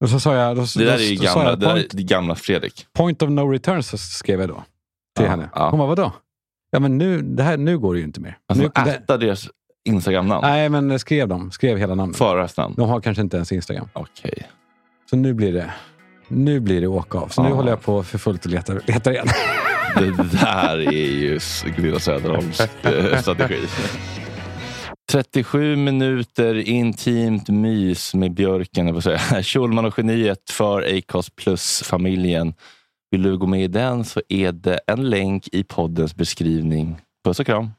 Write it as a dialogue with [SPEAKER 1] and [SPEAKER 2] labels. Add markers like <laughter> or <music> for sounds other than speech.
[SPEAKER 1] Och så sa jag, då,
[SPEAKER 2] Det där
[SPEAKER 1] då,
[SPEAKER 2] är ju
[SPEAKER 1] då sa
[SPEAKER 2] gamla,
[SPEAKER 1] jag,
[SPEAKER 2] det där är
[SPEAKER 1] point,
[SPEAKER 2] det gamla Fredrik.
[SPEAKER 1] point of no returns så skrev jag då till
[SPEAKER 2] Ja,
[SPEAKER 1] henne.
[SPEAKER 2] ja.
[SPEAKER 1] Hon bara, vadå? Ja, men nu, det här, nu går det ju inte mer.
[SPEAKER 2] Alltså,
[SPEAKER 1] nu, det,
[SPEAKER 2] äta deras Instagram-namn.
[SPEAKER 1] nej, men jag skrev dem. Skrev hela namnet.
[SPEAKER 2] Förarnamn.
[SPEAKER 1] De har kanske inte ens Instagram.
[SPEAKER 2] Okej.
[SPEAKER 1] Så nu blir det, nu blir det åka av. Så nu
[SPEAKER 2] Ja.
[SPEAKER 1] håller jag på för fullt och letar, letar igen.
[SPEAKER 2] Det där är ju s- Gunilla Söderholms
[SPEAKER 1] <laughs>
[SPEAKER 2] eh, strategi. 37 minuter intimt mys med björken, jag säga. <laughs> Schulman och geniet för Acast Plus-familjen. Vill du gå med i den så är det en länk i poddens beskrivning. Puss och kram!